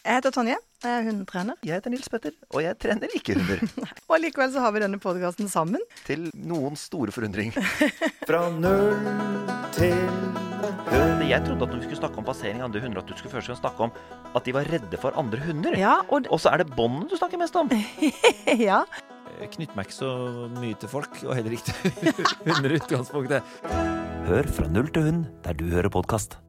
Jeg heter Tonje, jeg er hundetrener. Jeg heter Nils Petter, og jeg trener ikke hunder. Og likevel så har vi denne podkasten sammen. Til noens store forundring. Fra null til hund. Jeg trodde at når vi skulle snakke om passering av andre hunder, at du skulle først og fremst snakke om at de var redde for andre hunder. Ja, og Og så er det båndene du snakker mest om. ja. Jeg knytter meg ikke så mye til folk, og heller ikke til hunder i utgangspunktet. Hør Fra null til hund, der du hører podkast.